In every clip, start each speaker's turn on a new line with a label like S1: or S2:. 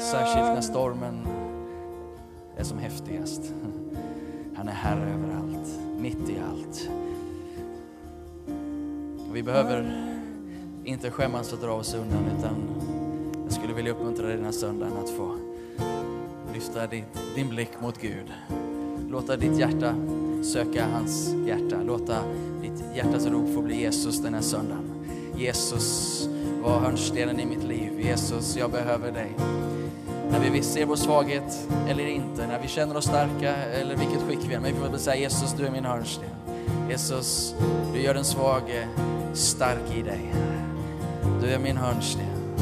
S1: särskilt när stormen är som häftigast. Han är herre över allt, mitt i allt. Vi behöver inte skämmas och dra oss undan utan jag skulle vilja uppmuntra dig den här söndagen att få lyfta ditt, din blick mot Gud. Låta ditt hjärta söka hans hjärta. Låta ditt hjärtas rop få bli Jesus den här söndagen. Jesus, var hörnstenen i mitt liv. Jesus, jag behöver dig. När vi ser vår svaghet eller inte, när vi känner oss starka eller vilket skick vi är men vi får väl säga Jesus, du är min hörnsten. Jesus, du gör den svage stark i dig. Du är min hörnsten.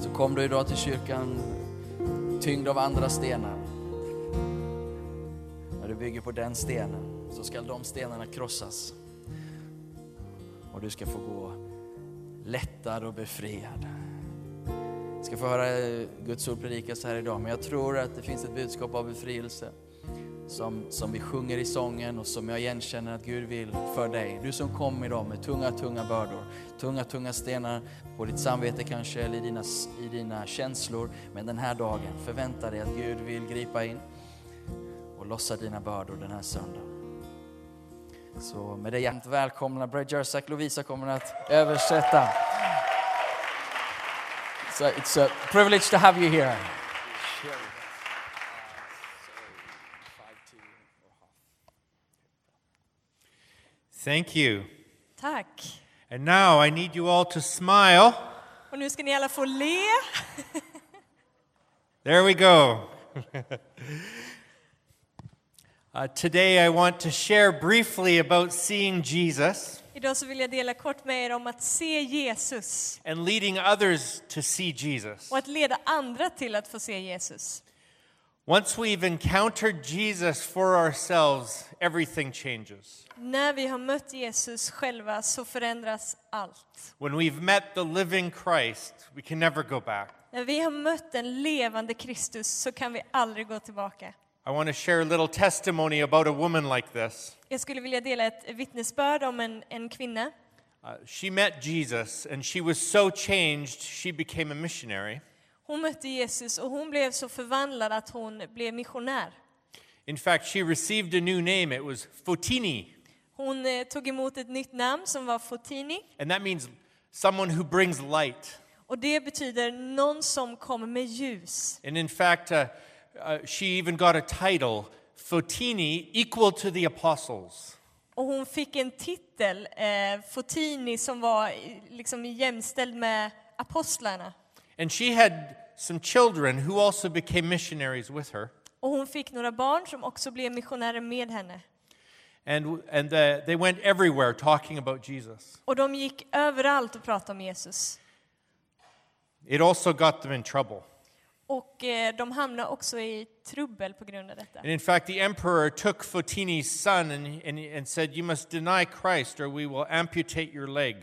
S1: Så kom du idag till kyrkan tyngd av andra stenar. När du bygger på den stenen så skall de stenarna krossas och du ska få gå lättad och befriad. Jag ska få höra eh, Guds ord predikas här idag, men jag tror att det finns ett budskap av befrielse som, som vi sjunger i sången och som jag igenkänner att Gud vill för dig. Du som kom idag med tunga, tunga bördor, tunga, tunga stenar på ditt samvete kanske eller i dina, i dina känslor. Men den här dagen, förvänta dig att Gud vill gripa in och lossa dina bördor den här söndagen. Så med det hjärtligt välkomna. Brad Jersak Lovisa kommer att översätta. So it's a privilege to have you here.
S2: Thank you.
S3: Tack.
S2: And now I need you all to smile.
S3: Och nu ska ni alla få le.
S2: There we go. Uh, today I want to share briefly about seeing Jesus
S3: Idag så vill jag dela kort med er om att se Jesus
S2: and leading others to see Jesus.
S3: och att leda andra till att få se Jesus.
S2: Once we've encountered Jesus for ourselves, everything changes.
S3: När vi har mött Jesus själva så förändras allt.
S2: When we've met the living Christ, we can never go back.
S3: När vi har mött den levande Kristus så kan vi aldrig gå tillbaka.
S2: I want to share a little testimony about a woman like this.
S3: Jag skulle vilja dela ett vittnesbörd om en, en kvinna.
S2: Uh, she met Jesus and she was so changed, she became a missionary.
S3: Hon mötte Jesus och hon blev så förvandlad att hon blev missionär.
S2: In fact, she received a new name. It was Fotini,
S3: Hon eh, tog emot ett nytt namn som var Fotini
S2: and that means someone who brings light.
S3: och det betyder någon som kommer med ljus.
S2: And in fact, uh, uh, she even got a title, Fotini, equal to the apostles.
S3: Och hon fick en titel, eh, Fotini, som var i- liksom jämställd med apostlarna.
S2: And she had some children who also became missionaries with her.
S3: Och hon fick några barn som också blev missionärer med henne.
S2: And, and uh, they went everywhere talking about Jesus.
S3: Och de gick överallt och pratade om Jesus.
S2: It also got them in trouble.
S3: Och eh, de hamnade också i trubbel på grund av detta.
S2: And in fact, the emperor took Fotini's son and, and, and said, You must deny Christ or we will amputate your leg.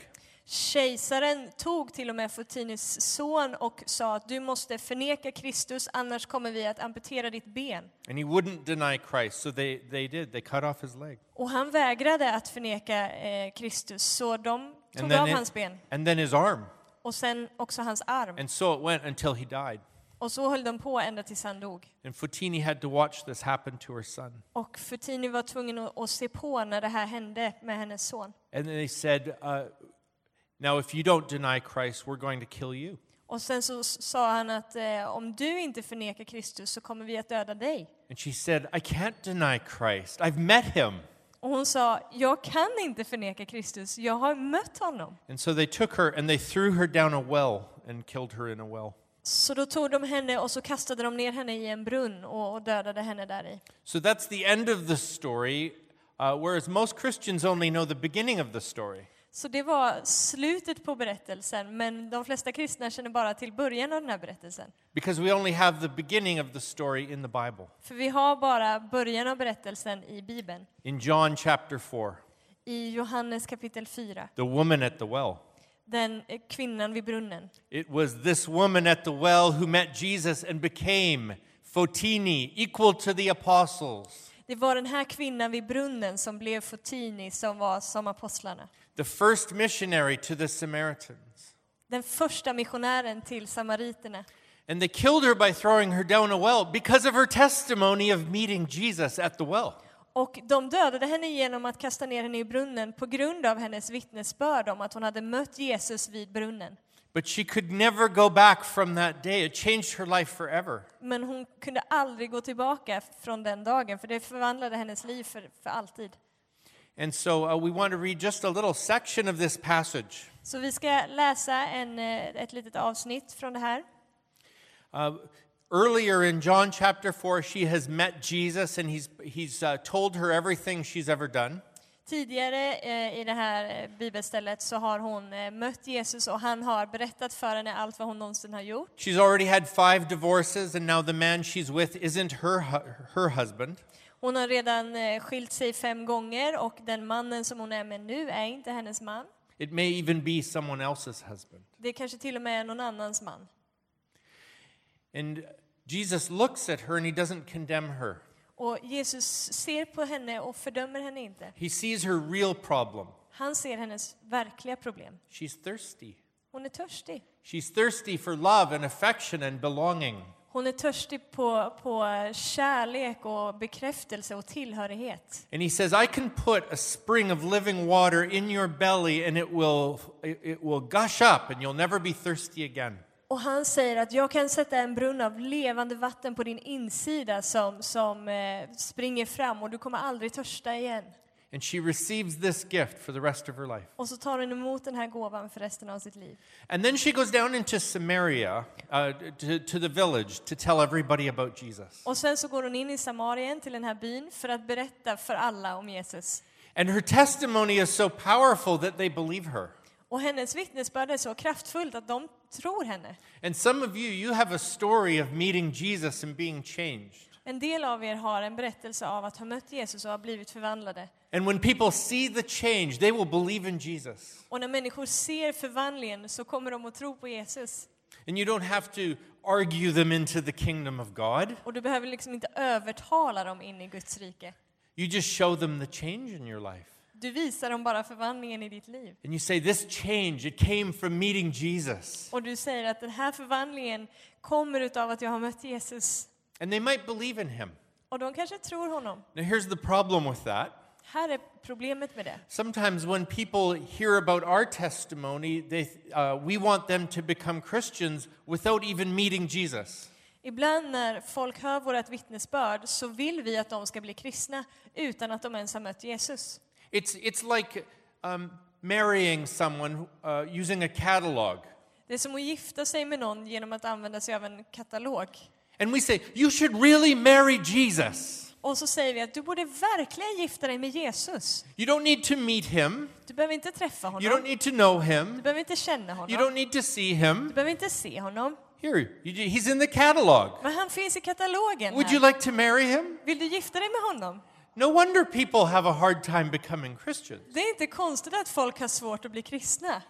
S3: Kejsaren tog till och med Fotinis son och sa att du måste förneka Kristus, annars kommer vi att amputera ditt ben.
S2: And he wouldn't deny Christ, so they, they did. They cut off his leg.
S3: Och han vägrade att förneka eh, Kristus, så de
S2: And
S3: tog av
S2: it-
S3: hans ben
S2: and then his arm.
S3: och sen också hans arm.
S2: And so it went until he died.
S3: Och så höll de på ända tills han dog.
S2: And Fotini had to watch this happen to her son.
S3: Och Futini var tvungen att, att se på när det här hände med hennes son.
S2: And then they said, uh, Now, if you don't deny Christ, we're going to kill you.
S3: Och sen så s- sa han att eh, om du inte förnekar Kristus så kommer vi att döda dig.
S2: And she said, I can't deny Christ. I've met him.
S3: Och hon sa, jag kan inte förneka Kristus, jag har mött honom.
S2: And so they took her and they threw her down a well and killed her in a well.
S3: Så då tog de henne och så kastade de ner henne i en brunn och, och dödade henne där i.
S2: So that's the end of the story, uh, whereas most Christians only know the beginning of the story.
S3: Så det var slutet på berättelsen, men de flesta kristna känner bara till början av den här berättelsen.
S2: Because we only have the beginning of the story in the Bible,
S3: För vi har bara början av berättelsen i Bibeln.
S2: in John chapter 4,
S3: I Johannes kapitel 4.
S2: the woman at the well.
S3: den eh, kvinnan vid brunnen.
S2: It was this woman at the well who met Jesus and became Fotini, equal to the apostles.
S3: Det var den här kvinnan vid brunnen som blev Fotini som var som apostlarna.
S2: the first missionary to the Samaritans.
S3: Det den första missionären till samariterna.
S2: And they killed her by throwing her down a well because of her testimony of meeting Jesus at the well.
S3: Och de dödade henne genom att kasta ner henne i brunnen på grund av hennes vittnesbörd om att hon hade mött Jesus vid brunnen.
S2: But she could never go back from that day. It changed her life forever.
S3: Men hon kunde aldrig gå tillbaka från den dagen, för det förvandlade hennes liv för, för alltid.
S2: And so uh, we want to read just a little section of this passage.
S3: Så vi ska läsa en, eh, ett litet avsnitt från det här.
S2: Uh, earlier in John chapter 4, she has met Jesus and he's, he's uh, told her everything she's ever done.
S3: Tidigare eh, i det här eh, bibelstället så har hon eh, mött Jesus och han har berättat för henne allt vad hon någonsin har gjort.
S2: She's already had five divorces, and now the man she's with isn't her, hu- her husband.
S3: Hon har redan eh, skilt sig fem gånger och den mannen som hon är med nu är inte hennes man.
S2: It may even be someone else's husband.
S3: Det kanske till och med är någon annans man.
S2: And Jesus looks at her and he doesn't condemn her.
S3: Och Jesus ser på henne och fördömer henne inte.
S2: He sees her real problem.
S3: Han ser hennes verkliga problem.
S2: She's thirsty.
S3: Hon är törstig.
S2: She's thirsty for love and affection and belonging.
S3: Hon är törstig på, på eh, kärlek och bekräftelse och tillhörighet.
S2: And he says, I can put a spring of living water in your belly and it will, it it will gush up and you'll never be thirsty again.
S3: Och han säger att jag kan sätta en brunn av levande vatten på din insida som, som eh, springer fram och du kommer aldrig törsta igen.
S2: And she receives this gift for the rest of her life.
S3: Och så tar hon emot den här gåvan för resten av sitt liv.
S2: And then she goes down into Samaria, uh, to, to the village, to tell everybody about Jesus.
S3: Och sen så går hon in i Samarien till den här byn för att berätta för alla om Jesus.
S2: And her testimony is so powerful that they believe her.
S3: Och hennes vittnesbörd är så kraftfullt att de tror henne.
S2: And some of you, you have a story of meeting Jesus and being changed.
S3: En del av er har en berättelse av att ha mött Jesus och har blivit förvandlade.
S2: And when people see the change, they will believe in Jesus.
S3: Och när människor ser förvandlingen så kommer de att tro på Jesus.
S2: And you don't have to argue them into the kingdom of God.
S3: Och du behöver liksom inte övertala dem in i Guds rike.
S2: You just show them the change in your life.
S3: Du visar dem bara förvandlingen i ditt liv.
S2: And you say, This change, it came from meeting Jesus.
S3: Och du säger att den här förvandlingen kommer utav att jag har mött Jesus.
S2: And they might believe in him.
S3: Och de kanske tror honom.
S2: Now, here's the problem with that.
S3: Här är problemet med det.
S2: Sometimes when people hear about our testimony, they, uh, we want them to become Christians without even meeting Jesus.
S3: Ibland när folk hör vårt vittnesbörd så vill vi att de ska bli kristna utan att de ens har mött Jesus.
S2: It's, it's like um, marrying someone uh, using a catalog.
S3: Det är som att gifta sig med någon genom att använda sig av en katalog.
S2: And we say, You should really marry Jesus.
S3: Och så säger vi att du borde verkligen gifta dig med Jesus.
S2: You don't need to meet him.
S3: Du behöver inte träffa
S2: You don't
S3: honom,
S2: need to know
S3: du
S2: him.
S3: behöver inte känna
S2: You
S3: honom,
S2: don't need to see
S3: du
S2: him.
S3: behöver inte se honom.
S2: Here, you, he's in the catalog.
S3: Men han finns i katalogen
S2: Would you
S3: här.
S2: like to marry him?
S3: Vill du gifta dig med honom?
S2: No wonder people have a hard time becoming Christians.
S3: Det är inte konstigt att folk har svårt att bli kristna.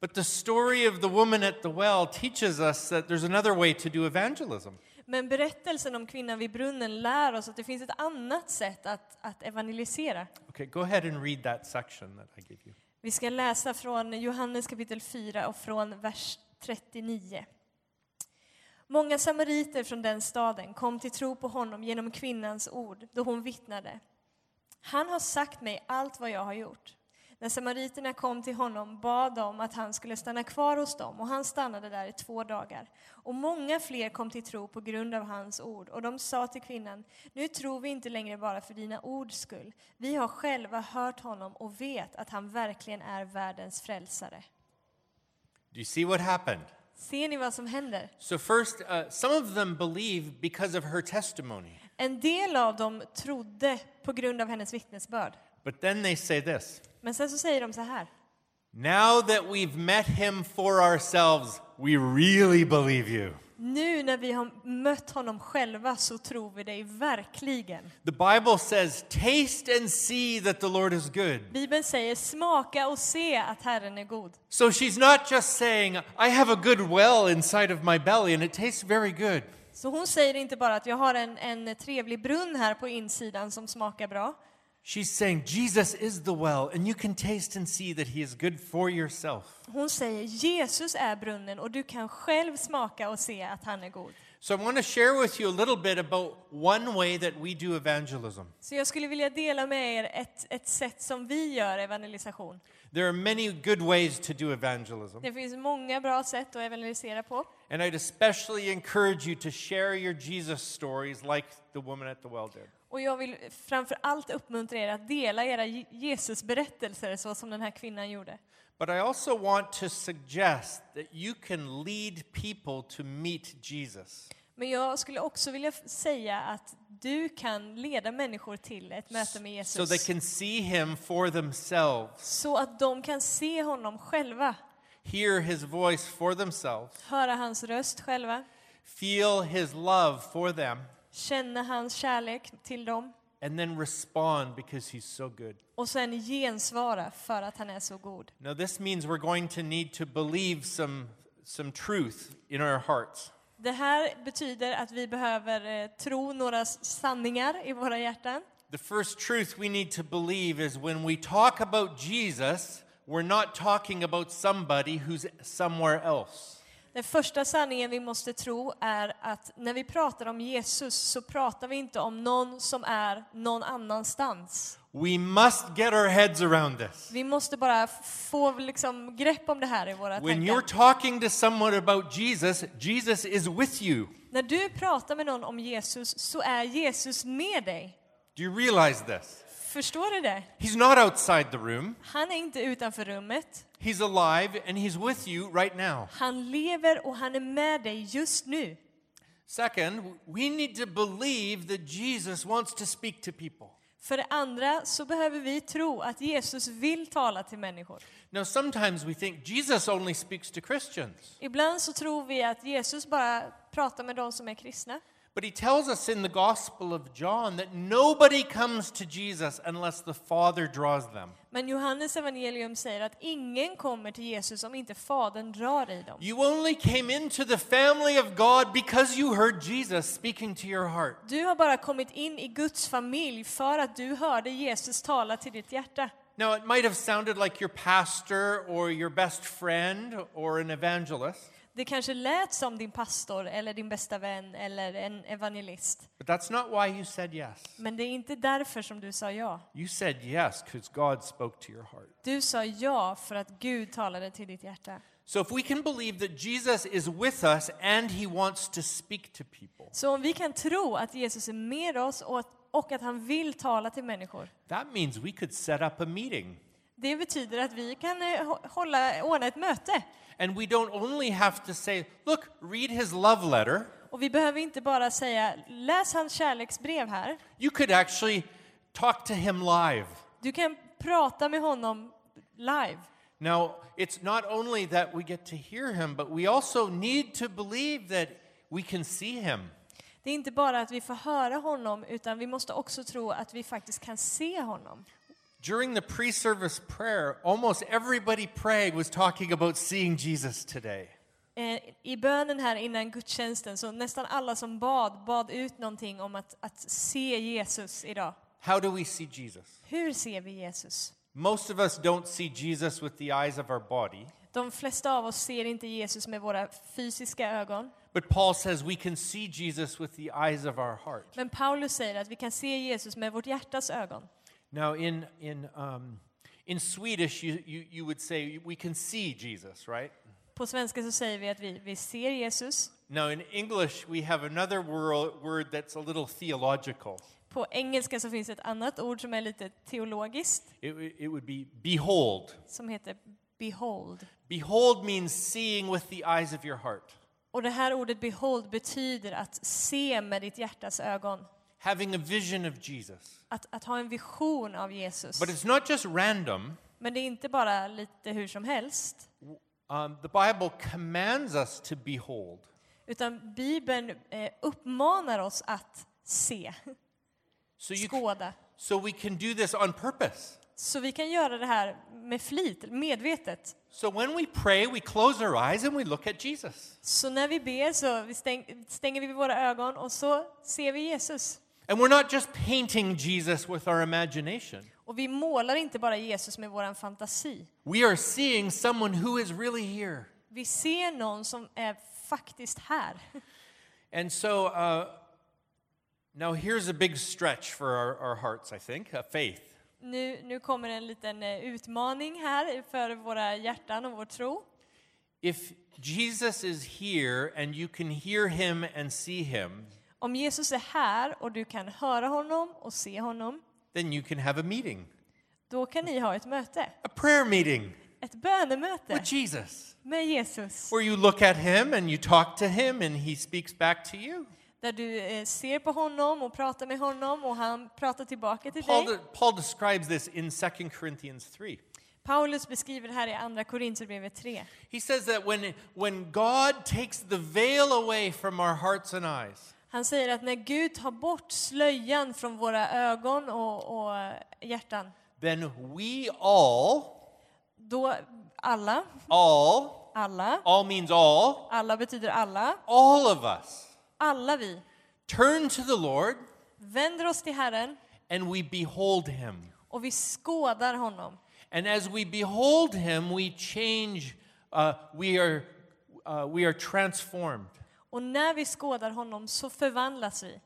S2: But the story of the woman at the well teaches us that there's another way to do evangelism.
S3: Men berättelsen om kvinnan vid brunnen lär oss att det finns ett annat sätt att, att evangelisera.
S2: Okay, go ahead and read that section that I gave you.
S3: Vi ska läsa från Johannes kapitel 4 och från vers 39. Många samariter från den staden kom till tro på honom genom kvinnans ord, då hon vittnade. Han har sagt mig allt vad jag har gjort. När samariterna kom till honom bad de att han skulle stanna kvar hos dem och han stannade där i två dagar. Och många fler kom till tro på grund av hans ord och de sa till kvinnan, nu tror vi inte längre bara för dina ords skull. Vi har själva hört honom och vet att han verkligen är världens frälsare.
S2: Do you see what happened?
S3: Ser ni vad som händer?
S2: So, first, uh, some of them believe because of her testimony,
S3: En del av dem trodde på grund av hennes vittnesbörd.
S2: but then they say this
S3: Men sen så säger de så här,
S2: Now that we've met him for ourselves, we really believe you.
S3: Nu när vi har mött honom själva så tror vi dig verkligen.
S2: The Bible says, Taste and see that the Lord is good.
S3: Bibeln säger smaka och se att Herren är god.
S2: So she's not just saying, I have a good well inside of my belly and it tastes very good.
S3: Så hon säger inte bara att jag har en, en trevlig brunn här på insidan som smakar bra.
S2: She's saying, Jesus is the well, and you can taste and see that he is good for yourself.
S3: Hon säger Jesus är brunnen och du kan själv smaka och se att han är god.
S2: So I want to share with you a little bit about one way that we do evangelism.
S3: Så jag skulle vilja dela med er ett, ett sätt som vi gör evangelisation.
S2: There are many good ways to do evangelism,
S3: Det finns många bra sätt att evangelisera på.
S2: and I'd especially encourage you to share your Jesus stories like the woman at the well did.
S3: Och jag vill framför allt uppmuntra er att dela era Je- Jesusberättelser så som den här kvinnan gjorde.
S2: But I also want to suggest that you can lead people to meet Jesus.
S3: Men jag skulle också vilja f- säga att du kan leda människor till ett möte med
S2: so they
S3: Jesus.
S2: can see him for themselves,
S3: Så att de kan se honom själva,
S2: hear his voice for themselves,
S3: höra hans röst själva,
S2: feel his love for them,
S3: känna hans kärlek till dem
S2: and then respond because he's so good.
S3: och sen gensvara för att han är så god.
S2: Now, this means we're going to need to believe some, some truth in our hearts.
S3: Det här betyder att vi behöver eh, tro några s- sanningar i våra hjärtan.
S2: The first truth we need to believe is when we talk about Jesus, we're not talking about somebody who's somewhere else.
S3: Den första sanningen vi måste tro är att när vi pratar om Jesus så pratar vi inte om någon som är någon annanstans.
S2: We must get our heads around this.
S3: Vi måste bara f- få liksom grepp om det här i våra
S2: When you're
S3: tankar.
S2: talking to someone about Jesus, Jesus is with you.
S3: När du pratar med någon om Jesus så är Jesus med dig.
S2: Do you realize this?
S3: Förstår du det?
S2: He's not outside the room.
S3: Han är inte utanför rummet.
S2: He's alive and he's with you right now.
S3: Han lever och han är med dig just nu.
S2: Second, we need to believe that Jesus wants to speak to people.
S3: För det andra så behöver vi tro att Jesus vill tala till människor.
S2: Now, sometimes we think Jesus only speaks to Christians,
S3: Ibland så tror vi att Jesus bara pratar med de som är kristna.
S2: but he tells us in the Gospel of John that nobody comes to Jesus unless the Father draws them.
S3: Men Johannes evangelium säger att ingen kommer till Jesus om inte Fadern drar i dem.
S2: You only came into the family of God because you heard Jesus speaking to your heart.
S3: Du har bara kommit in i Guds familj för att du hörde Jesus tala till ditt hjärta.
S2: Now, it might have sounded like your pastor or your best friend or an evangelist,
S3: Det kanske lät som din pastor eller din bästa vän eller en evangelist.
S2: but that's not why you said yes.
S3: Men det är inte därför som du sa ja.
S2: You said yes because God spoke to your heart.
S3: Du sa ja för att Gud talade till ditt hjärta.
S2: So, if we can believe that Jesus is with us and he wants to speak to people,
S3: Så om vi kan tro att Jesus är med oss och att, och att han vill tala till människor,
S2: that means we could set up a meeting.
S3: det betyder att vi kan eh, hå- hålla, ordna ett möte.
S2: And we don't only have to say, look, read his love letter.
S3: Och vi behöver inte bara säga läs hans kärleksbrev här.
S2: You could actually talk to him live.
S3: Du kan prata med honom live.
S2: Now, it's not only that we get to hear him, but we also need to believe that we can see him.
S3: Det är inte bara att vi får höra honom utan vi måste också tro att vi faktiskt kan se honom.
S2: During the pre service prayer, almost everybody prayed was talking about seeing Jesus today.
S3: Eh, I bönen här innan gudstjänsten så nästan alla som bad, bad ut någonting om att, att se Jesus idag.
S2: How do we see Jesus?
S3: Hur ser vi Jesus?
S2: Most of us don't see Jesus with the eyes of our body,
S3: De flesta av oss ser inte Jesus med våra fysiska ögon.
S2: but Paul says we can see Jesus with the eyes of our heart.
S3: Men Paulus säger att vi kan se Jesus med vårt hjärtas ögon.
S2: Now, in, in, um, in Swedish, you, you, you would say we can see Jesus, right?
S3: På svenska så säger vi att vi, vi ser Jesus.
S2: Now, in English, we have another wor- word that's a little theological.
S3: På engelska så finns ett annat ord som är lite teologiskt
S2: It, w- it would be behold.
S3: som heter behold.
S2: Behold means seeing with the eyes of your heart,
S3: Och det här ordet behold betyder att se med ditt hjärtas ögon.
S2: having a vision of Jesus.
S3: Att, att ha en vision av Jesus.
S2: But it's not just random.
S3: Men det är inte bara lite hur som helst.
S2: Um, the Bible commands us to behold.
S3: Utan Bibeln eh, uppmanar oss att se,
S2: So you
S3: skåda.
S2: so we can do this on purpose.
S3: Så vi kan göra det här med flit, medvetet.
S2: So when we pray, we close our eyes and we look at Jesus.
S3: Så när vi ber så vi stäng, stänger vi våra ögon och så ser vi Jesus.
S2: And we're not just painting Jesus with our imagination.
S3: Och vi målar inte bara Jesus med vår fantasi.
S2: We are seeing someone who is really here.
S3: Vi ser någon som är faktiskt här.
S2: And so uh, now here's a big stretch for our, our hearts, I think, uh, faith.
S3: Nu, nu kommer en liten eh, utmaning här för våra hjärtan och vår tro.
S2: If Jesus is here and you can hear him and see him,
S3: Om Jesus är här och du kan höra honom och se honom,
S2: then you can have a meeting,
S3: då kan ni ha ett möte.
S2: a prayer meeting
S3: Ett bönemöte
S2: with Jesus,
S3: med Jesus.
S2: where you look at him and you talk to him and he speaks back to you.
S3: Där du eh, ser på honom och pratar med honom och han pratar tillbaka till
S2: Paul,
S3: dig.
S2: de- Paul describes this in 2 Corinthians 3.
S3: Paulus beskriver det här i Andra Korinthierbrevet 3.
S2: He says that when, when God takes the veil away from our hearts and eyes,
S3: Han säger att när Gud tar bort slöjan från våra ögon och, och hjärtan,
S2: then we all,
S3: då alla,
S2: all,
S3: alla,
S2: all means all,
S3: alla betyder alla,
S2: all of us
S3: alla vi
S2: turn to the Lord
S3: vänder oss till Herren
S2: and we behold him.
S3: och vi skådar honom.
S2: And as we behold him, we change, uh, we, are, uh, we are transformed.
S3: Och när vi skådar honom så förvandlas vi.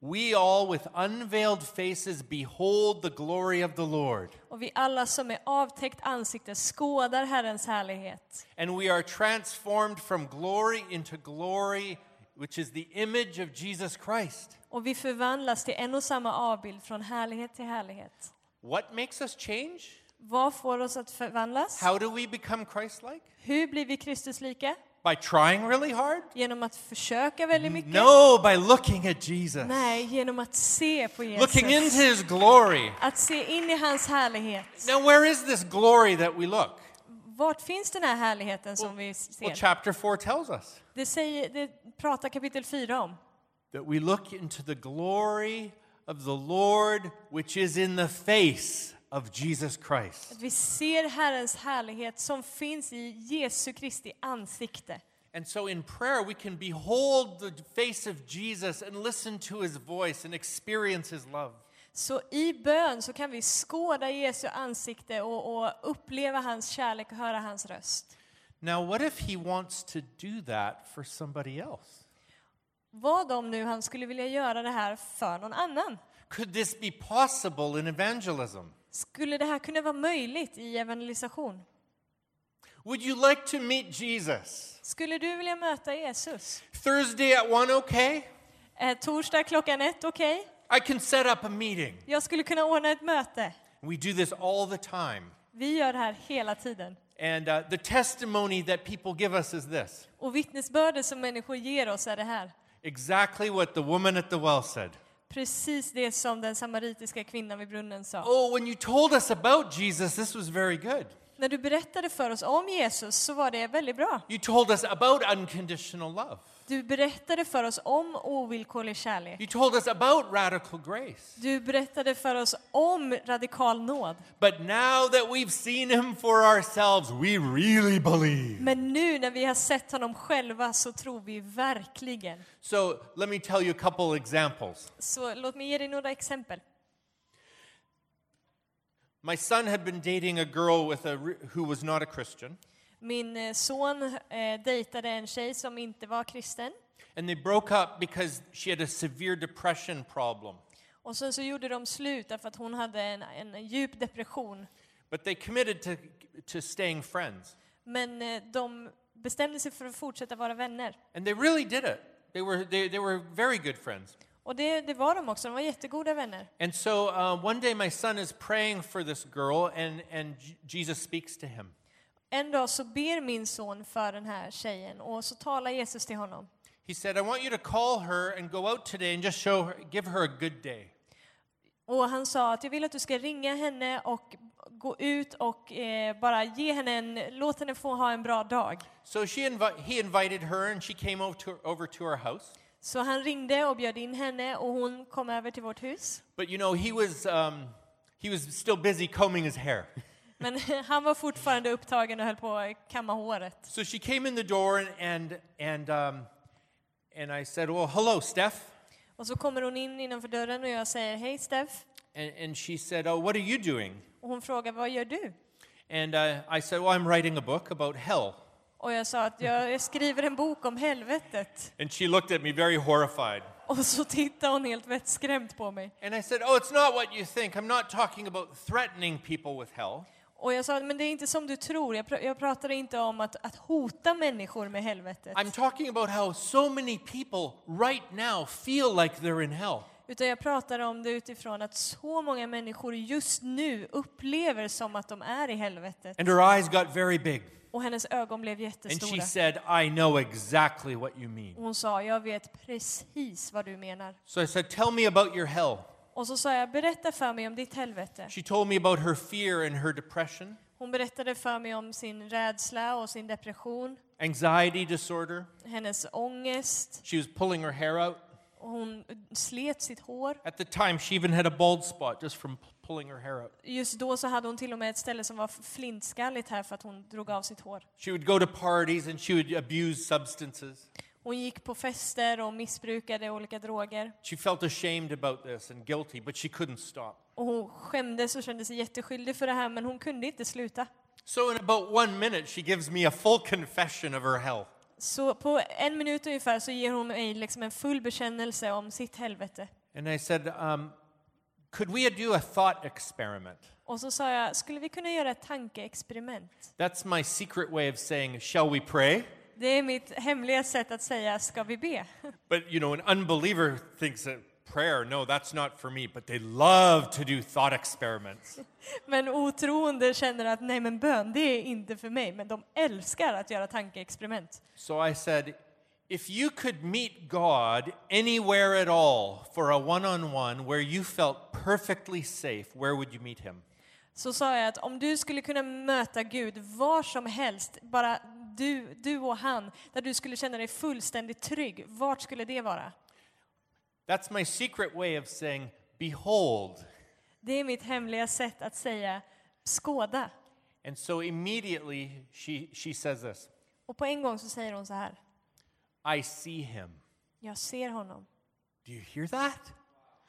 S2: We all, with unveiled faces, behold the glory of the Lord.
S3: Och vi alla som är avtäckt ansikte skådar Herrens härlighet.
S2: And we are transformed from glory into glory, which is the image of Jesus Christ.
S3: Och vi förvandlas till en och samma avbild från härlighet till härlighet.
S2: What makes us change?
S3: Vad får oss att förvandlas?
S2: How do we become Christ like?
S3: Hur blir vi Kristuslika?
S2: By trying really hard?
S3: Genom att försöka väldigt mycket?
S2: No, by looking at Jesus.
S3: Nej, genom att se på Jesus.
S2: Looking into his glory.
S3: Att se in i hans härlighet.
S2: Now, where is this glory that we look?
S3: Vart finns den här härligheten som vi
S2: Well,
S3: ser?
S2: chapter 4 tells us
S3: Det, säger, det pratar kapitel 4 om.
S2: that we look into the glory of the Lord, which is in the face of Jesus Christ.
S3: Att vi ser Herrens härlighet som finns i Jesu Kristi ansikte.
S2: And so in prayer, we can behold the face of Jesus and listen to his voice and experience his love.
S3: Så i bön så kan vi skåda Jesu ansikte och, och uppleva hans kärlek och höra hans röst.
S2: Now, what if he wants to do that for somebody else?
S3: Vad om nu han skulle vilja göra det här för någon annan?
S2: Could this be possible in evangelism?
S3: Skulle det här kunna vara möjligt i evangelisation?
S2: Would you like to meet Jesus?
S3: Skulle du vilja möta Jesus?
S2: Thursday at 1, okay?
S3: Eh, torsdag klockan ett, okej?
S2: I can set up a meeting.
S3: Jag skulle kunna ordna ett möte.
S2: We do this all the time.
S3: Vi gör det här hela tiden.
S2: And uh, the testimony that people give us is this
S3: Och vittnesbördet som människor ger oss är det här.
S2: exactly what the woman at the well said.
S3: Precis det som den samaritiska kvinnan vid brunnen sa.
S2: Oh, when you told us about Jesus, this was very good.
S3: När du berättade för oss om Jesus så var det väldigt bra.
S2: You told us about unconditional love.
S3: Du berättade för oss om ovillkorlig kärlek.
S2: You told us about radical grace.
S3: Du berättade för oss om radikal nåd.
S2: But now that we've seen him for ourselves, we really believe.
S3: Men nu när vi har sett honom själva så tror vi verkligen.
S2: So let me tell you a couple examples.
S3: Så låt mig ge dig några exempel.
S2: My son had been dating a girl with a re- who was not a Christian,
S3: Min eh, son eh, dejtade en tjej som inte var kristen.
S2: and they broke up because she had a severe depression problem.
S3: Och sen så gjorde de slut därför att hon hade en, en djup depression.
S2: But they committed to, to staying friends.
S3: Men eh, de bestämde sig för att fortsätta vara vänner.
S2: And they really did it. They were, they, they were very good friends.
S3: Och det, det var de också, de var jättegoda vänner.
S2: And so uh, one day my son is praying for this girl, and, and J- Jesus speaks to him.
S3: En dag så ber min son för den här tjejen och så talar Jesus till honom.
S2: He said, I want you to call her and go out today and just show her, give her a good day.
S3: Och han sa att jag vill att du ska ringa henne och gå ut och eh, bara ge henne en, låt henne få ha en bra dag.
S2: So she invi- he invited her, and she came over to, over to our house.
S3: Så han ringde och bjöd in henne och hon kom över till vårt hus.
S2: But you know, he was, um, he was still busy combing his hair.
S3: Men han var fortfarande upptagen och höll på att kamma håret.
S2: So she came in the door, and, and, and, um, and I said, Well, hello, Steph.
S3: Och så kommer hon in innanför dörren och jag säger hej Steph.
S2: And, and she said, Oh, what are you doing?
S3: Och hon frågar vad gör du?
S2: And uh, I said, Well, I'm writing a book about hell.
S3: Och jag sa att jag, jag skriver en bok om helvetet.
S2: And she looked at me very horrified.
S3: Och så tittar hon helt vettskrämt på mig.
S2: And I said, Oh, it's not what you think. I'm not talking about threatening people with hell.
S3: Och jag sa, men det är inte som du tror. Jag, pr- jag pratade inte om att, att hota människor med helvetet.
S2: I'm talking about how so many people right now feel like they're in hell.
S3: Utan jag pratade om det utifrån att så många människor just nu upplever som att de är i helvetet.
S2: And her eyes got very big.
S3: Och hennes ögon blev
S2: And she
S3: jättestora.
S2: said, I know exactly what you mean.
S3: Och Hon sa, jag vet precis vad du menar.
S2: So I said, Tell me about your hell.
S3: Och så sa jag, berätta för mig om ditt helvete.
S2: She told me about her fear and her depression,
S3: Hon berättade för mig om sin rädsla och sin depression,
S2: anxiety disorder.
S3: hennes ångest,
S2: She was pulling her hair out.
S3: och hon slet sitt hår.
S2: At the time, she even had a bald spot just from p- pulling her hair out.
S3: Just då så hade hon till och med ett ställe som var flintskalligt här för att hon drog av sitt hår.
S2: She would go to parties and she would abuse substances.
S3: Hon gick på fester och missbrukade olika droger.
S2: She felt ashamed about this and guilty, but she couldn't stop.
S3: Och hon skämdes och kände sig jätteskyldig för det här men hon kunde inte sluta.
S2: So, in about one minute, she gives me a full confession of her hell.
S3: Så på en minut ungefär så ger hon mig liksom en full bekännelse om sitt helvete.
S2: And I said, um, Could we do a thought experiment?
S3: Och så sa jag, skulle vi kunna göra ett tankeexperiment?
S2: That's my secret way of saying, Shall we pray?
S3: Det är mitt hemliga sätt att säga, ska vi be?
S2: But you know, an unbeliever thinks that prayer, no, that's not for me. But they love to do thought experiments.
S3: Men otroende känner att nej men bön, det är inte för mig. Men de älskar att göra tankeexperiment.
S2: so I said, if you could meet God anywhere at all for a one on one where you felt perfectly safe, where would you meet him?
S3: Så sa jag att om du skulle kunna möta Gud var som helst, bara du, du och han, där du skulle känna dig fullständigt trygg, vart skulle det vara?
S2: That's my secret way of saying, behold.
S3: Det är mitt hemliga sätt att säga skåda.
S2: And so immediately she, she says this
S3: Och på en gång så säger hon så här,
S2: I see him.
S3: jag ser honom.
S2: Do you hear that?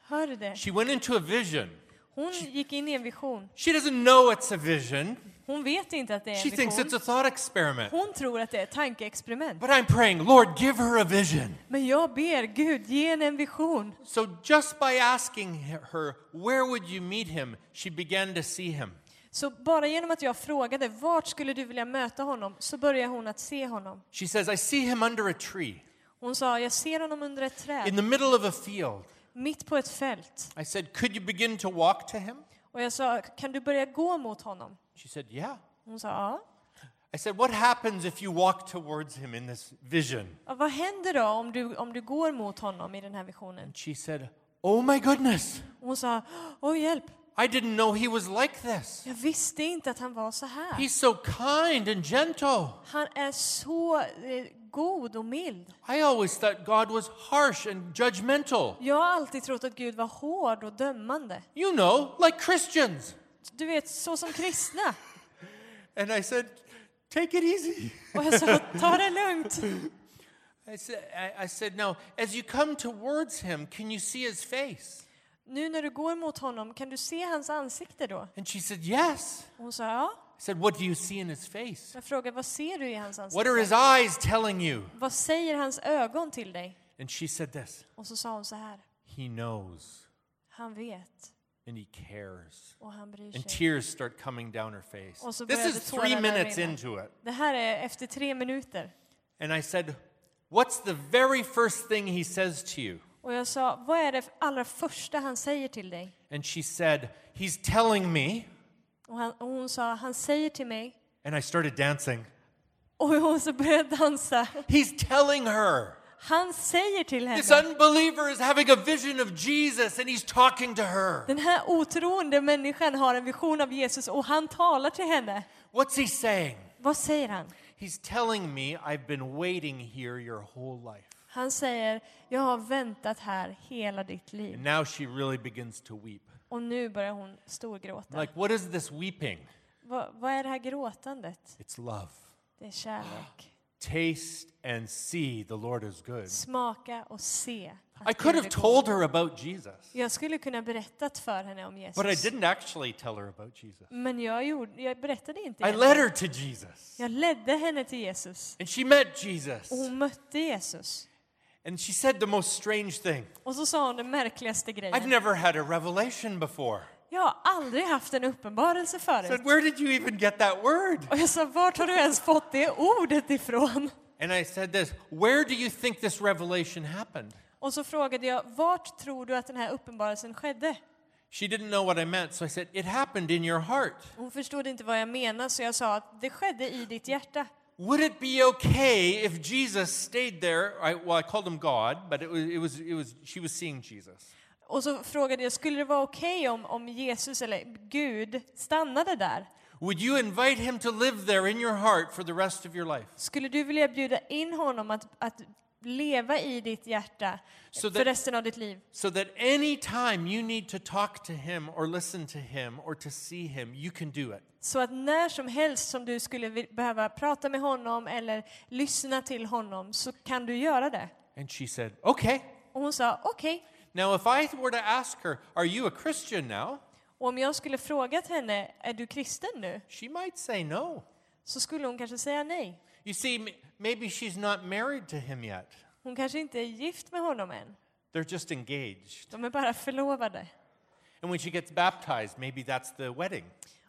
S3: Hör du det?
S2: She went into a vision.
S3: Hon gick in i en vision.
S2: She doesn't know it's a vision.
S3: Hon vet inte att det är
S2: She
S3: en
S2: thinks it's
S3: vision.
S2: a thought experiment.
S3: Hon tror att det är ett tankeexperiment.
S2: But I'm praying, Lord, give her a vision.
S3: Men jag ber Gud, ge henne en vision.
S2: So just by asking her, where would you meet him? She began to see him.
S3: Så bara genom att jag frågade vart skulle du vilja möta honom så börjar hon att se honom.
S2: She says, I see him under a tree
S3: Hon sa, jag ser honom under ett
S2: in
S3: träd,
S2: the middle of a field.
S3: mitt på ett fält.
S2: I said, Could you begin to walk to him?
S3: Och jag sa, kan du börja gå mot honom?
S2: She said, Yeah.
S3: Hon sa, ja.
S2: I said, What happens if you walk towards him in this vision?
S3: Ja, Vad händer då om du, om du går mot honom i den här visionen?
S2: And she said, Oh my goodness,
S3: Hon sa, oj hjälp,
S2: I didn't know he was like this.
S3: jag visste inte att han var så här.
S2: He's so kind and gentle.
S3: Han är så eh, god och mild.
S2: I always thought God was harsh and judgmental.
S3: Jag har alltid trott att Gud var hård och dömande.
S2: You know, like Christians.
S3: Du vet, så som kristna.
S2: And I said, Take it easy.
S3: Och jag sa, ta det lugnt.
S2: I said, I, I said, Now, as you come towards him, can you see his face?
S3: Nu när du går mot honom, kan du se hans ansikte då?
S2: And she said, Yes.
S3: Och Hon sa, ja.
S2: I said, What do you see in his face?
S3: Jag frågade, vad ser du i hans
S2: What are his
S3: ansikte?
S2: eyes telling you?
S3: Vad säger hans ögon till dig?
S2: And she said, This
S3: Och så sa hon så här,
S2: He knows
S3: han vet
S2: and he cares.
S3: och han bryr
S2: And
S3: sig.
S2: tears start coming down her face.
S3: Och så
S2: This
S3: började
S2: is three
S3: tårarna
S2: minutes
S3: rinna.
S2: into it.
S3: Det här är efter tre minuter.
S2: And I said, What's the very first thing he says to you?
S3: Och jag sa, vad är det allra första han säger till dig?
S2: And she said, He's telling me.
S3: Och, han, och hon sa, han säger till mig.
S2: And I started dancing.
S3: Och hon så började dansa.
S2: He's telling her.
S3: Han säger till
S2: This
S3: henne.
S2: unbeliever is having a vision of Jesus and he's talking to her.
S3: Den här otroende människan har en vision av Jesus och han talar till henne.
S2: What's he saying?
S3: Vad säger han?
S2: He's telling me, I've been waiting here your whole life.
S3: Han säger, jag har väntat här hela ditt
S2: And
S3: liv.
S2: now she really begins to weep.
S3: Och nu börjar hon storgråta.
S2: I'm like, what is this weeping?
S3: Vad, vad är det här gråtandet?
S2: It's love.
S3: Det är kärlek.
S2: Taste and see the Lord is good.
S3: Smaka och se. att
S2: I could
S3: Gud
S2: have
S3: är god.
S2: told her about Jesus,
S3: Jag skulle kunna berättat för henne om Jesus.
S2: but I didn't actually tell her about Jesus.
S3: Men jag, gjorde, jag berättade inte.
S2: I
S3: henne.
S2: led her to Jesus,
S3: Jag ledde henne till Jesus.
S2: and she met Jesus,
S3: Och hon mötte Jesus.
S2: and she said the most strange thing
S3: Och så sa hon den märkligaste
S2: I've
S3: grejen.
S2: never had a revelation before.
S3: Jag har aldrig haft en uppenbarelse
S2: I
S3: förut.
S2: said, Where did you even get that word?
S3: Och jag sa, vart har du ens fått det ordet ifrån?
S2: And I said this Where do you think this revelation happened?
S3: Och så frågade jag, vart tror du att den här uppenbarelsen skedde?
S2: She didn't know what I meant, so I said, It happened in your heart.
S3: Hon förstod inte vad jag menade, så jag sa att det skedde i ditt hjärta.
S2: Would it be okay if Jesus stayed there? I, well, I called him God, but it was, it was, it was, she was seeing Jesus.
S3: Och så frågade jag, skulle det vara okej om, om Jesus, eller Gud, stannade där?
S2: Would you invite him to live there in your heart for the rest of your life?
S3: Skulle du vilja bjuda in honom att, att leva i ditt hjärta
S2: Så
S3: för
S2: det-
S3: resten av ditt liv?
S2: So that any time you need to talk to him or listen to him or to see him, you can do it.
S3: Så att när som helst som du skulle vi- behöva prata med honom eller lyssna till honom så kan du göra det.
S2: And she said, Okay.
S3: Och hon sa okej.
S2: Now, if I were to ask her, Are you a Christian now?
S3: Och om jag skulle frågat henne, är du kristen nu?
S2: She might say no.
S3: Så skulle hon kanske säga nej.
S2: You see, m- maybe she's not married to him yet,
S3: Hon kanske inte är gift med honom än.
S2: they're just engaged.
S3: De är bara förlovade.
S2: And when she gets baptized, maybe that's the wedding.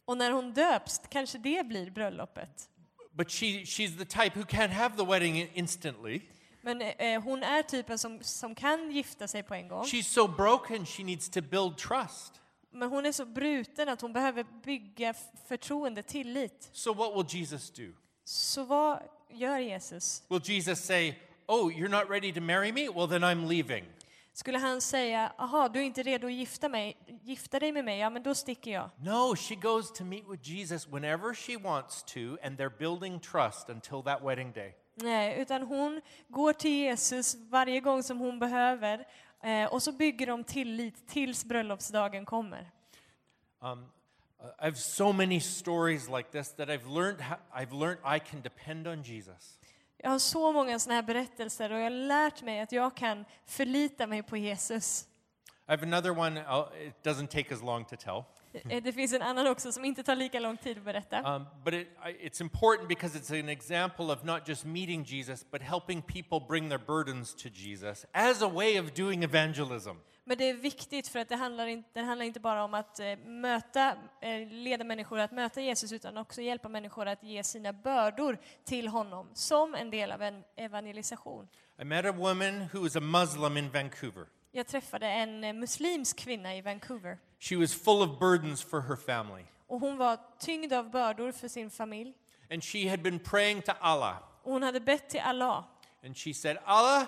S3: Och när hon döps kanske det blir bröllopet.
S2: But she, she's the type who can't have the wedding i- instantly.
S3: Men eh, hon är typen som, som kan gifta sig på en gång.
S2: She's so broken, she needs to build trust.
S3: Men hon är så bruten att hon behöver bygga f- förtroende, tillit.
S2: So, what will Jesus do?
S3: Så vad gör Jesus?
S2: Will Jesus say, Oh, you're not ready to marry me? Well, then I'm leaving.
S3: Skulle han säga, aha, du är inte redo att gifta, mig, gifta dig med mig, ja men då sticker jag.
S2: No, she goes to meet with Jesus whenever she wants to, and they're building trust until that wedding day.
S3: Nej, utan hon går till Jesus varje gång som hon behöver eh, och så bygger de tillit tills bröllopsdagen kommer.
S2: Um, uh, I have so many stories like this that I've learned, ho- I've learned I can depend on Jesus.
S3: Jag har så många sådana här berättelser och jag har lärt mig att jag kan förlita mig på Jesus.
S2: I have another one, i it doesn't take as long to tell.
S3: Eh, Det finns en annan också som inte tar lika lång tid att berätta.
S2: Um, but it, I, it's important because it's an example of not just meeting Jesus, but helping people bring their burdens to Jesus as a way of doing evangelism.
S3: Men det är viktigt för att det handlar, in, det handlar inte bara om att eh, möta, eh, leda människor att möta Jesus utan också hjälpa människor att ge sina bördor till honom som en del av en evangelisation.
S2: I met a woman who was a Muslim in Vancouver.
S3: Jag träffade en eh, muslimsk kvinna i Vancouver
S2: She was full of burdens for her family,
S3: och hon var tyngd av bördor för sin familj.
S2: and she had been praying to Allah.
S3: Och hon hade bett till Allah
S2: And she said, Allah,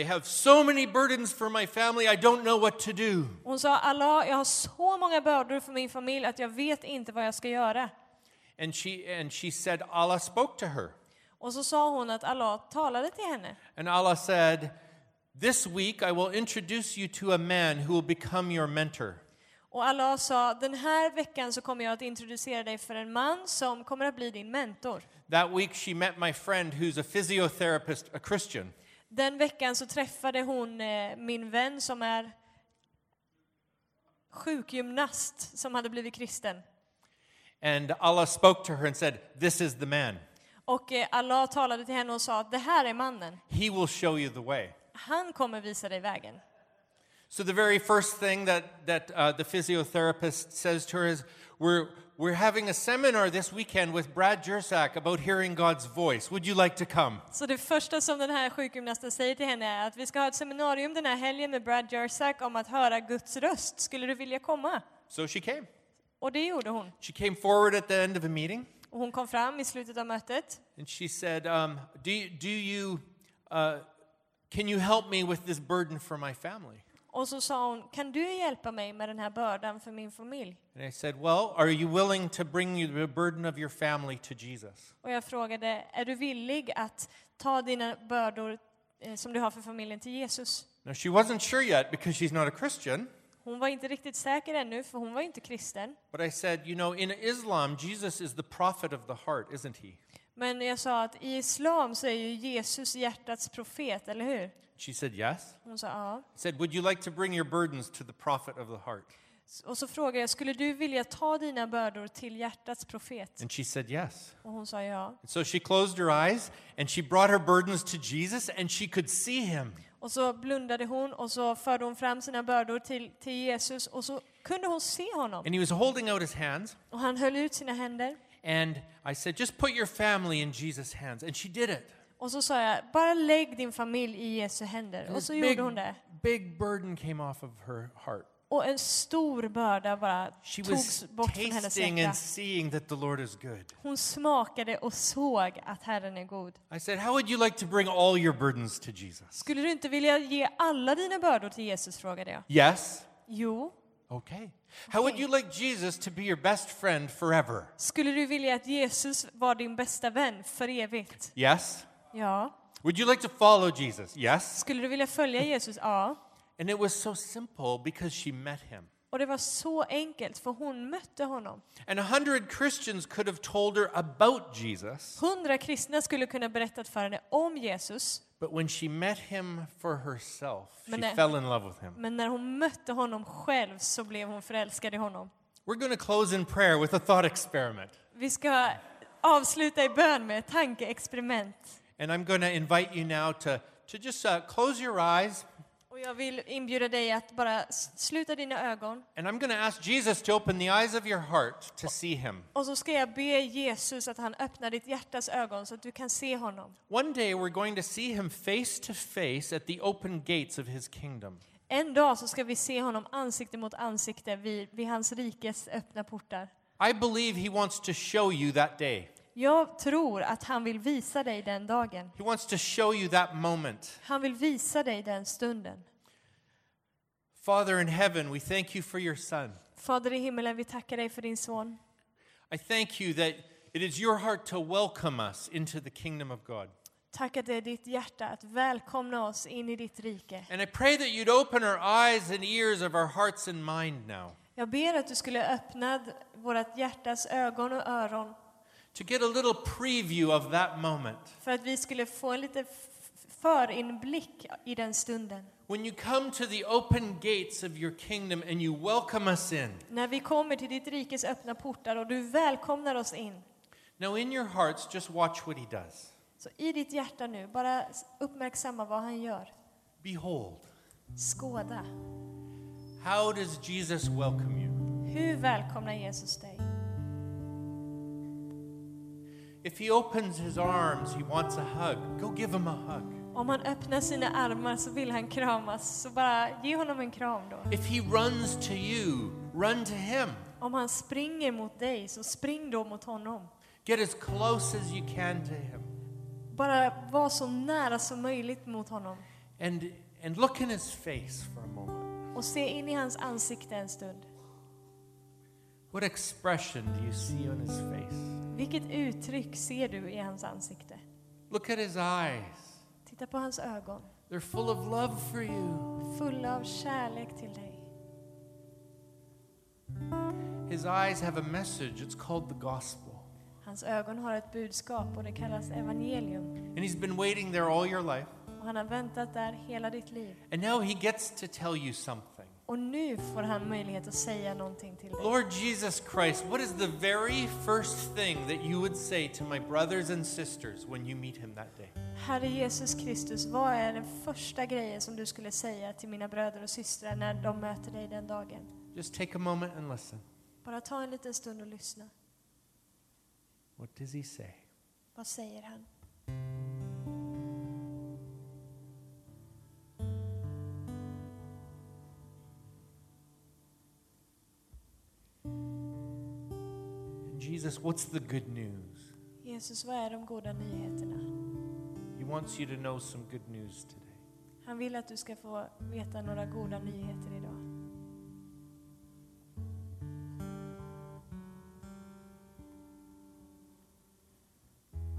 S2: I have so many burdens for my family, I don't know what to do.
S3: Hon sa Allah, jag har så många bördor för min familj att jag vet inte vad jag ska göra.
S2: And she, and she said, Allah spoke to her.
S3: Och så sa hon att Allah talade till henne.
S2: And Allah said, This week I will introduce you to a man who will become your mentor.
S3: Och Allah sa, den här veckan så kommer jag att introducera dig för en man som kommer att bli din mentor.
S2: That week she met my friend who's a physiotherapist, a Christian.
S3: Den veckan så träffade hon eh, min vän som är sjukgymnast som hade blivit kristen.
S2: And Allah spoke to her and said, This is the man.
S3: Och eh, Allah talade till henne och sa att det här är mannen.
S2: He will show you the way.
S3: Han kommer visa dig vägen.
S2: So the very first thing that, that uh, the physiotherapist says to her is, we're, we're having a seminar this weekend with Brad Jersak about hearing God's voice. Would you like to come?
S3: Så det första som den här sjukgymnasten säger till henne är att vi ska ha ett seminarium den här helgen med Brad Jersak om att höra Guds röst. Skulle du vilja komma?
S2: So she came.
S3: Och det gjorde hon.
S2: She came forward at the end of a meeting.
S3: Och hon kom fram i slutet av mötet.
S2: And she said, um, do, you- do you, uh, can you help me with this burden for my family?
S3: Och så sa hon, kan du hjälpa mig med den här bördan för min familj?
S2: And I said, well, are you willing to bring you the burden of your family to Jesus?
S3: Och jag frågade, är du villig att ta dina bördor eh, som du har för familjen till Jesus?
S2: Now, she wasn't sure yet because she's not a Christian.
S3: Hon var inte riktigt säker ännu, för hon var inte kristen.
S2: But I said, you know, in Islam, Jesus is the prophet of the heart, isn't he?
S3: Men jag sa att i islam så är ju Jesus hjärtats profet, eller hur?
S2: She said, Yes.
S3: Hon sa ja.
S2: I said, Would you like to bring your burdens to the prophet of the heart?
S3: Och så frågade jag, skulle du vilja ta dina bördor till hjärtats profet?
S2: And she said, Yes.
S3: Och hon sa ja.
S2: And so she closed her eyes and she brought her burdens to Jesus and she could see him.
S3: Och så blundade hon och så förde hon fram sina bördor till, till Jesus och så kunde hon se honom.
S2: And he was holding out his hands.
S3: Och han höll ut sina händer.
S2: And I said, Just put your family in Jesus' hands. And she did it.
S3: Och så sa jag, bara lägg din familj i Jesu händer.
S2: And
S3: Och så
S2: this big,
S3: gjorde hon det.
S2: big burden came off of her heart.
S3: Och en stor börda bara
S2: She
S3: togs
S2: was
S3: bort från hennes
S2: tasting and
S3: hjärta.
S2: seeing that the Lord is good.
S3: Hon smakade och såg att Herren är god.
S2: I said, How would you like to bring all your burdens to Jesus?
S3: Skulle du inte vilja ge alla dina bördor till Jesus? frågade jag.
S2: Yes.
S3: Jo.
S2: Okay. How would you like Jesus to be your best friend forever?
S3: Skulle du vilja att Jesus var din bästa vän för evigt?
S2: Yes.
S3: Ja.
S2: Would you like to follow Jesus? Yes.
S3: Skulle du vilja följa Jesus? Ja.
S2: And it was so simple because she met him.
S3: Och det var så enkelt, för hon mötte honom.
S2: And a hundred Christians could have told her about Jesus,
S3: Hundra kristna skulle kunna berättat för henne om Jesus,
S2: but when she met him for herself, she
S3: Men det-
S2: fell in love with him.
S3: men när hon mötte honom själv så blev hon förälskad i honom.
S2: We're going to close in prayer with a thought experiment.
S3: Vi ska avsluta i bön med ett tankeexperiment.
S2: And I'm going to invite you now to, to just uh, close your eyes,
S3: Och jag vill inbjuda dig att bara s- sluta dina ögon
S2: and I'm going to ask Jesus to open the eyes of your heart to see him.
S3: och så ska jag be Jesus att han öppnar ditt hjärtas ögon så att du kan se honom.
S2: One day we're going to see him face to face at the open gates of his kingdom.
S3: En dag så ska vi se honom ansikte mot ansikte vid, vid hans rikes öppna portar.
S2: I believe he wants to show you that day.
S3: Jag tror att han vill visa dig den dagen.
S2: He wants to show you that moment.
S3: Han vill visa dig den stunden.
S2: Father in heaven, we thank you for your son.
S3: Fader i himmelen, vi tackar dig för din son.
S2: I thank you that it is your heart to welcome us into the kingdom of God.
S3: Tack att det är ditt hjärta att välkomna oss in i ditt rike.
S2: And I pray that you'd open our eyes and ears of our hearts and mind now
S3: Jag ber att du skulle öppna vårt hjärtas ögon och öron
S2: to get a little preview of that moment.
S3: för att vi skulle få en liten f- förinblick i den stunden.
S2: When you come to the open gates of your kingdom and you welcome us in.
S3: När vi kommer till ditt rikes öppna portar och du välkomnar oss in.
S2: Now, in your hearts, just watch what he does.
S3: Så i ditt hjärta nu, bara s- uppmärksamma vad han gör.
S2: Behold,
S3: Skåda.
S2: how does Jesus welcome you?
S3: Hur välkomnar Jesus dig?
S2: If he opens his arms, he wants a hug. Go give him a hug.
S3: Om han öppnar sina armar så vill han kramas, så bara ge honom en kram då.
S2: If he runs to you, run to him.
S3: Om han springer mot dig, så spring då mot honom.
S2: Get as close as you can to him.
S3: Bara var så nära som möjligt mot honom
S2: And, and look in his face for a moment.
S3: och se in i hans ansikte en stund.
S2: What expression do you see on his face?
S3: Vilket uttryck ser du i hans ansikte?
S2: Look at his eyes.
S3: Titta på hans ögon,
S2: They're full of love for you.
S3: fulla av kärlek till dig.
S2: His eyes have a message. It's called the gospel.
S3: Hans ögon har ett budskap och det kallas evangelium.
S2: And he's been waiting there all your life.
S3: Och han har väntat där hela ditt liv.
S2: And now he gets to tell you something.
S3: Och nu får han möjlighet att säga någonting till dig.
S2: Lord Jesus Christ, what is the very first thing that you would say to my brothers and sisters when you meet him that day?
S3: Herre Jesus Kristus, vad är den första grejen som du skulle säga till mina bröder och systrar när de möter dig den dagen?
S2: Just take a moment and listen.
S3: Bara ta en liten stund och lyssna.
S2: What does he say?
S3: Vad säger han?
S2: And Jesus, what's the good news?
S3: Jesus, vad är de goda nyheterna?
S2: He wants you to know some good news today.
S3: Han vill att du ska få veta några goda nyheter idag.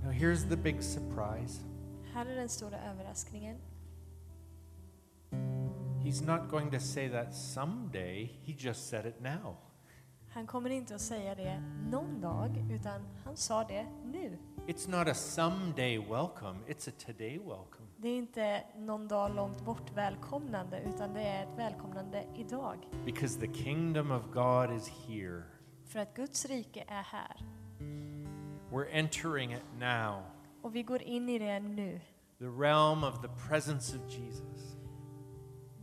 S2: Now, here's the big surprise
S3: Här är den stora överraskningen.
S2: He's not going to say that someday, he just said it now.
S3: Han kommer inte att säga det någon dag, utan han sa det nu.
S2: It's not a someday welcome, it's a today welcome.
S3: Det är inte någon dag långt bort välkomnande, utan det är ett välkomnande idag.
S2: Because the kingdom of God is here.
S3: För att Guds rike är här.
S2: We're entering it now,
S3: Och vi går in i det nu.
S2: the realm of the presence of Jesus.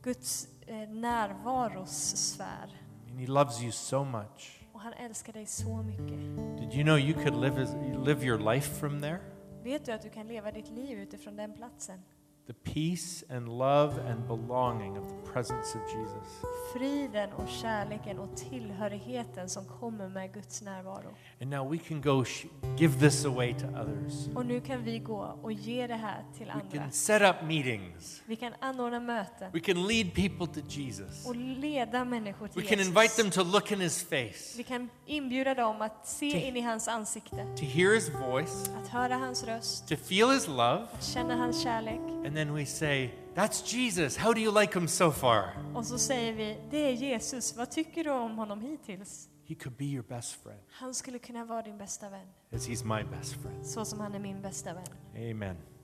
S3: Guds eh, närvaros sfär.
S2: And He loves you so much.
S3: Och han älskar dig så mycket.
S2: Did you know you could live, as, live your life from there?
S3: Vet du att du kan leva ditt liv utifrån den platsen?
S2: The peace and love and belonging of the presence of Jesus.
S3: Friden och kärleken och tillhörigheten som kommer med Guds närvaro.
S2: And now we can go sh- give this away to others.
S3: Och nu kan vi gå och ge det här till
S2: We
S3: andra.
S2: can set up meetings.
S3: Vi kan anordna möten
S2: We can lead people to Jesus.
S3: och leda människor
S2: We
S3: till
S2: can invite
S3: Jesus.
S2: them to look in his face,
S3: Vi kan inbjuda dem att se in i hans ansikte,
S2: to hear his voice,
S3: att höra hans röst,
S2: to feel his love,
S3: att känna hans kärlek.
S2: and then we say, That's Jesus. How do you like him so far?
S3: Och så säger vi, det är Jesus, vad tycker du om honom hittills?
S2: He could be your best friend,
S3: Han skulle kunna vara din bästa vän,
S2: as he's my best friend.
S3: så som han är min bästa vän.
S2: Amen.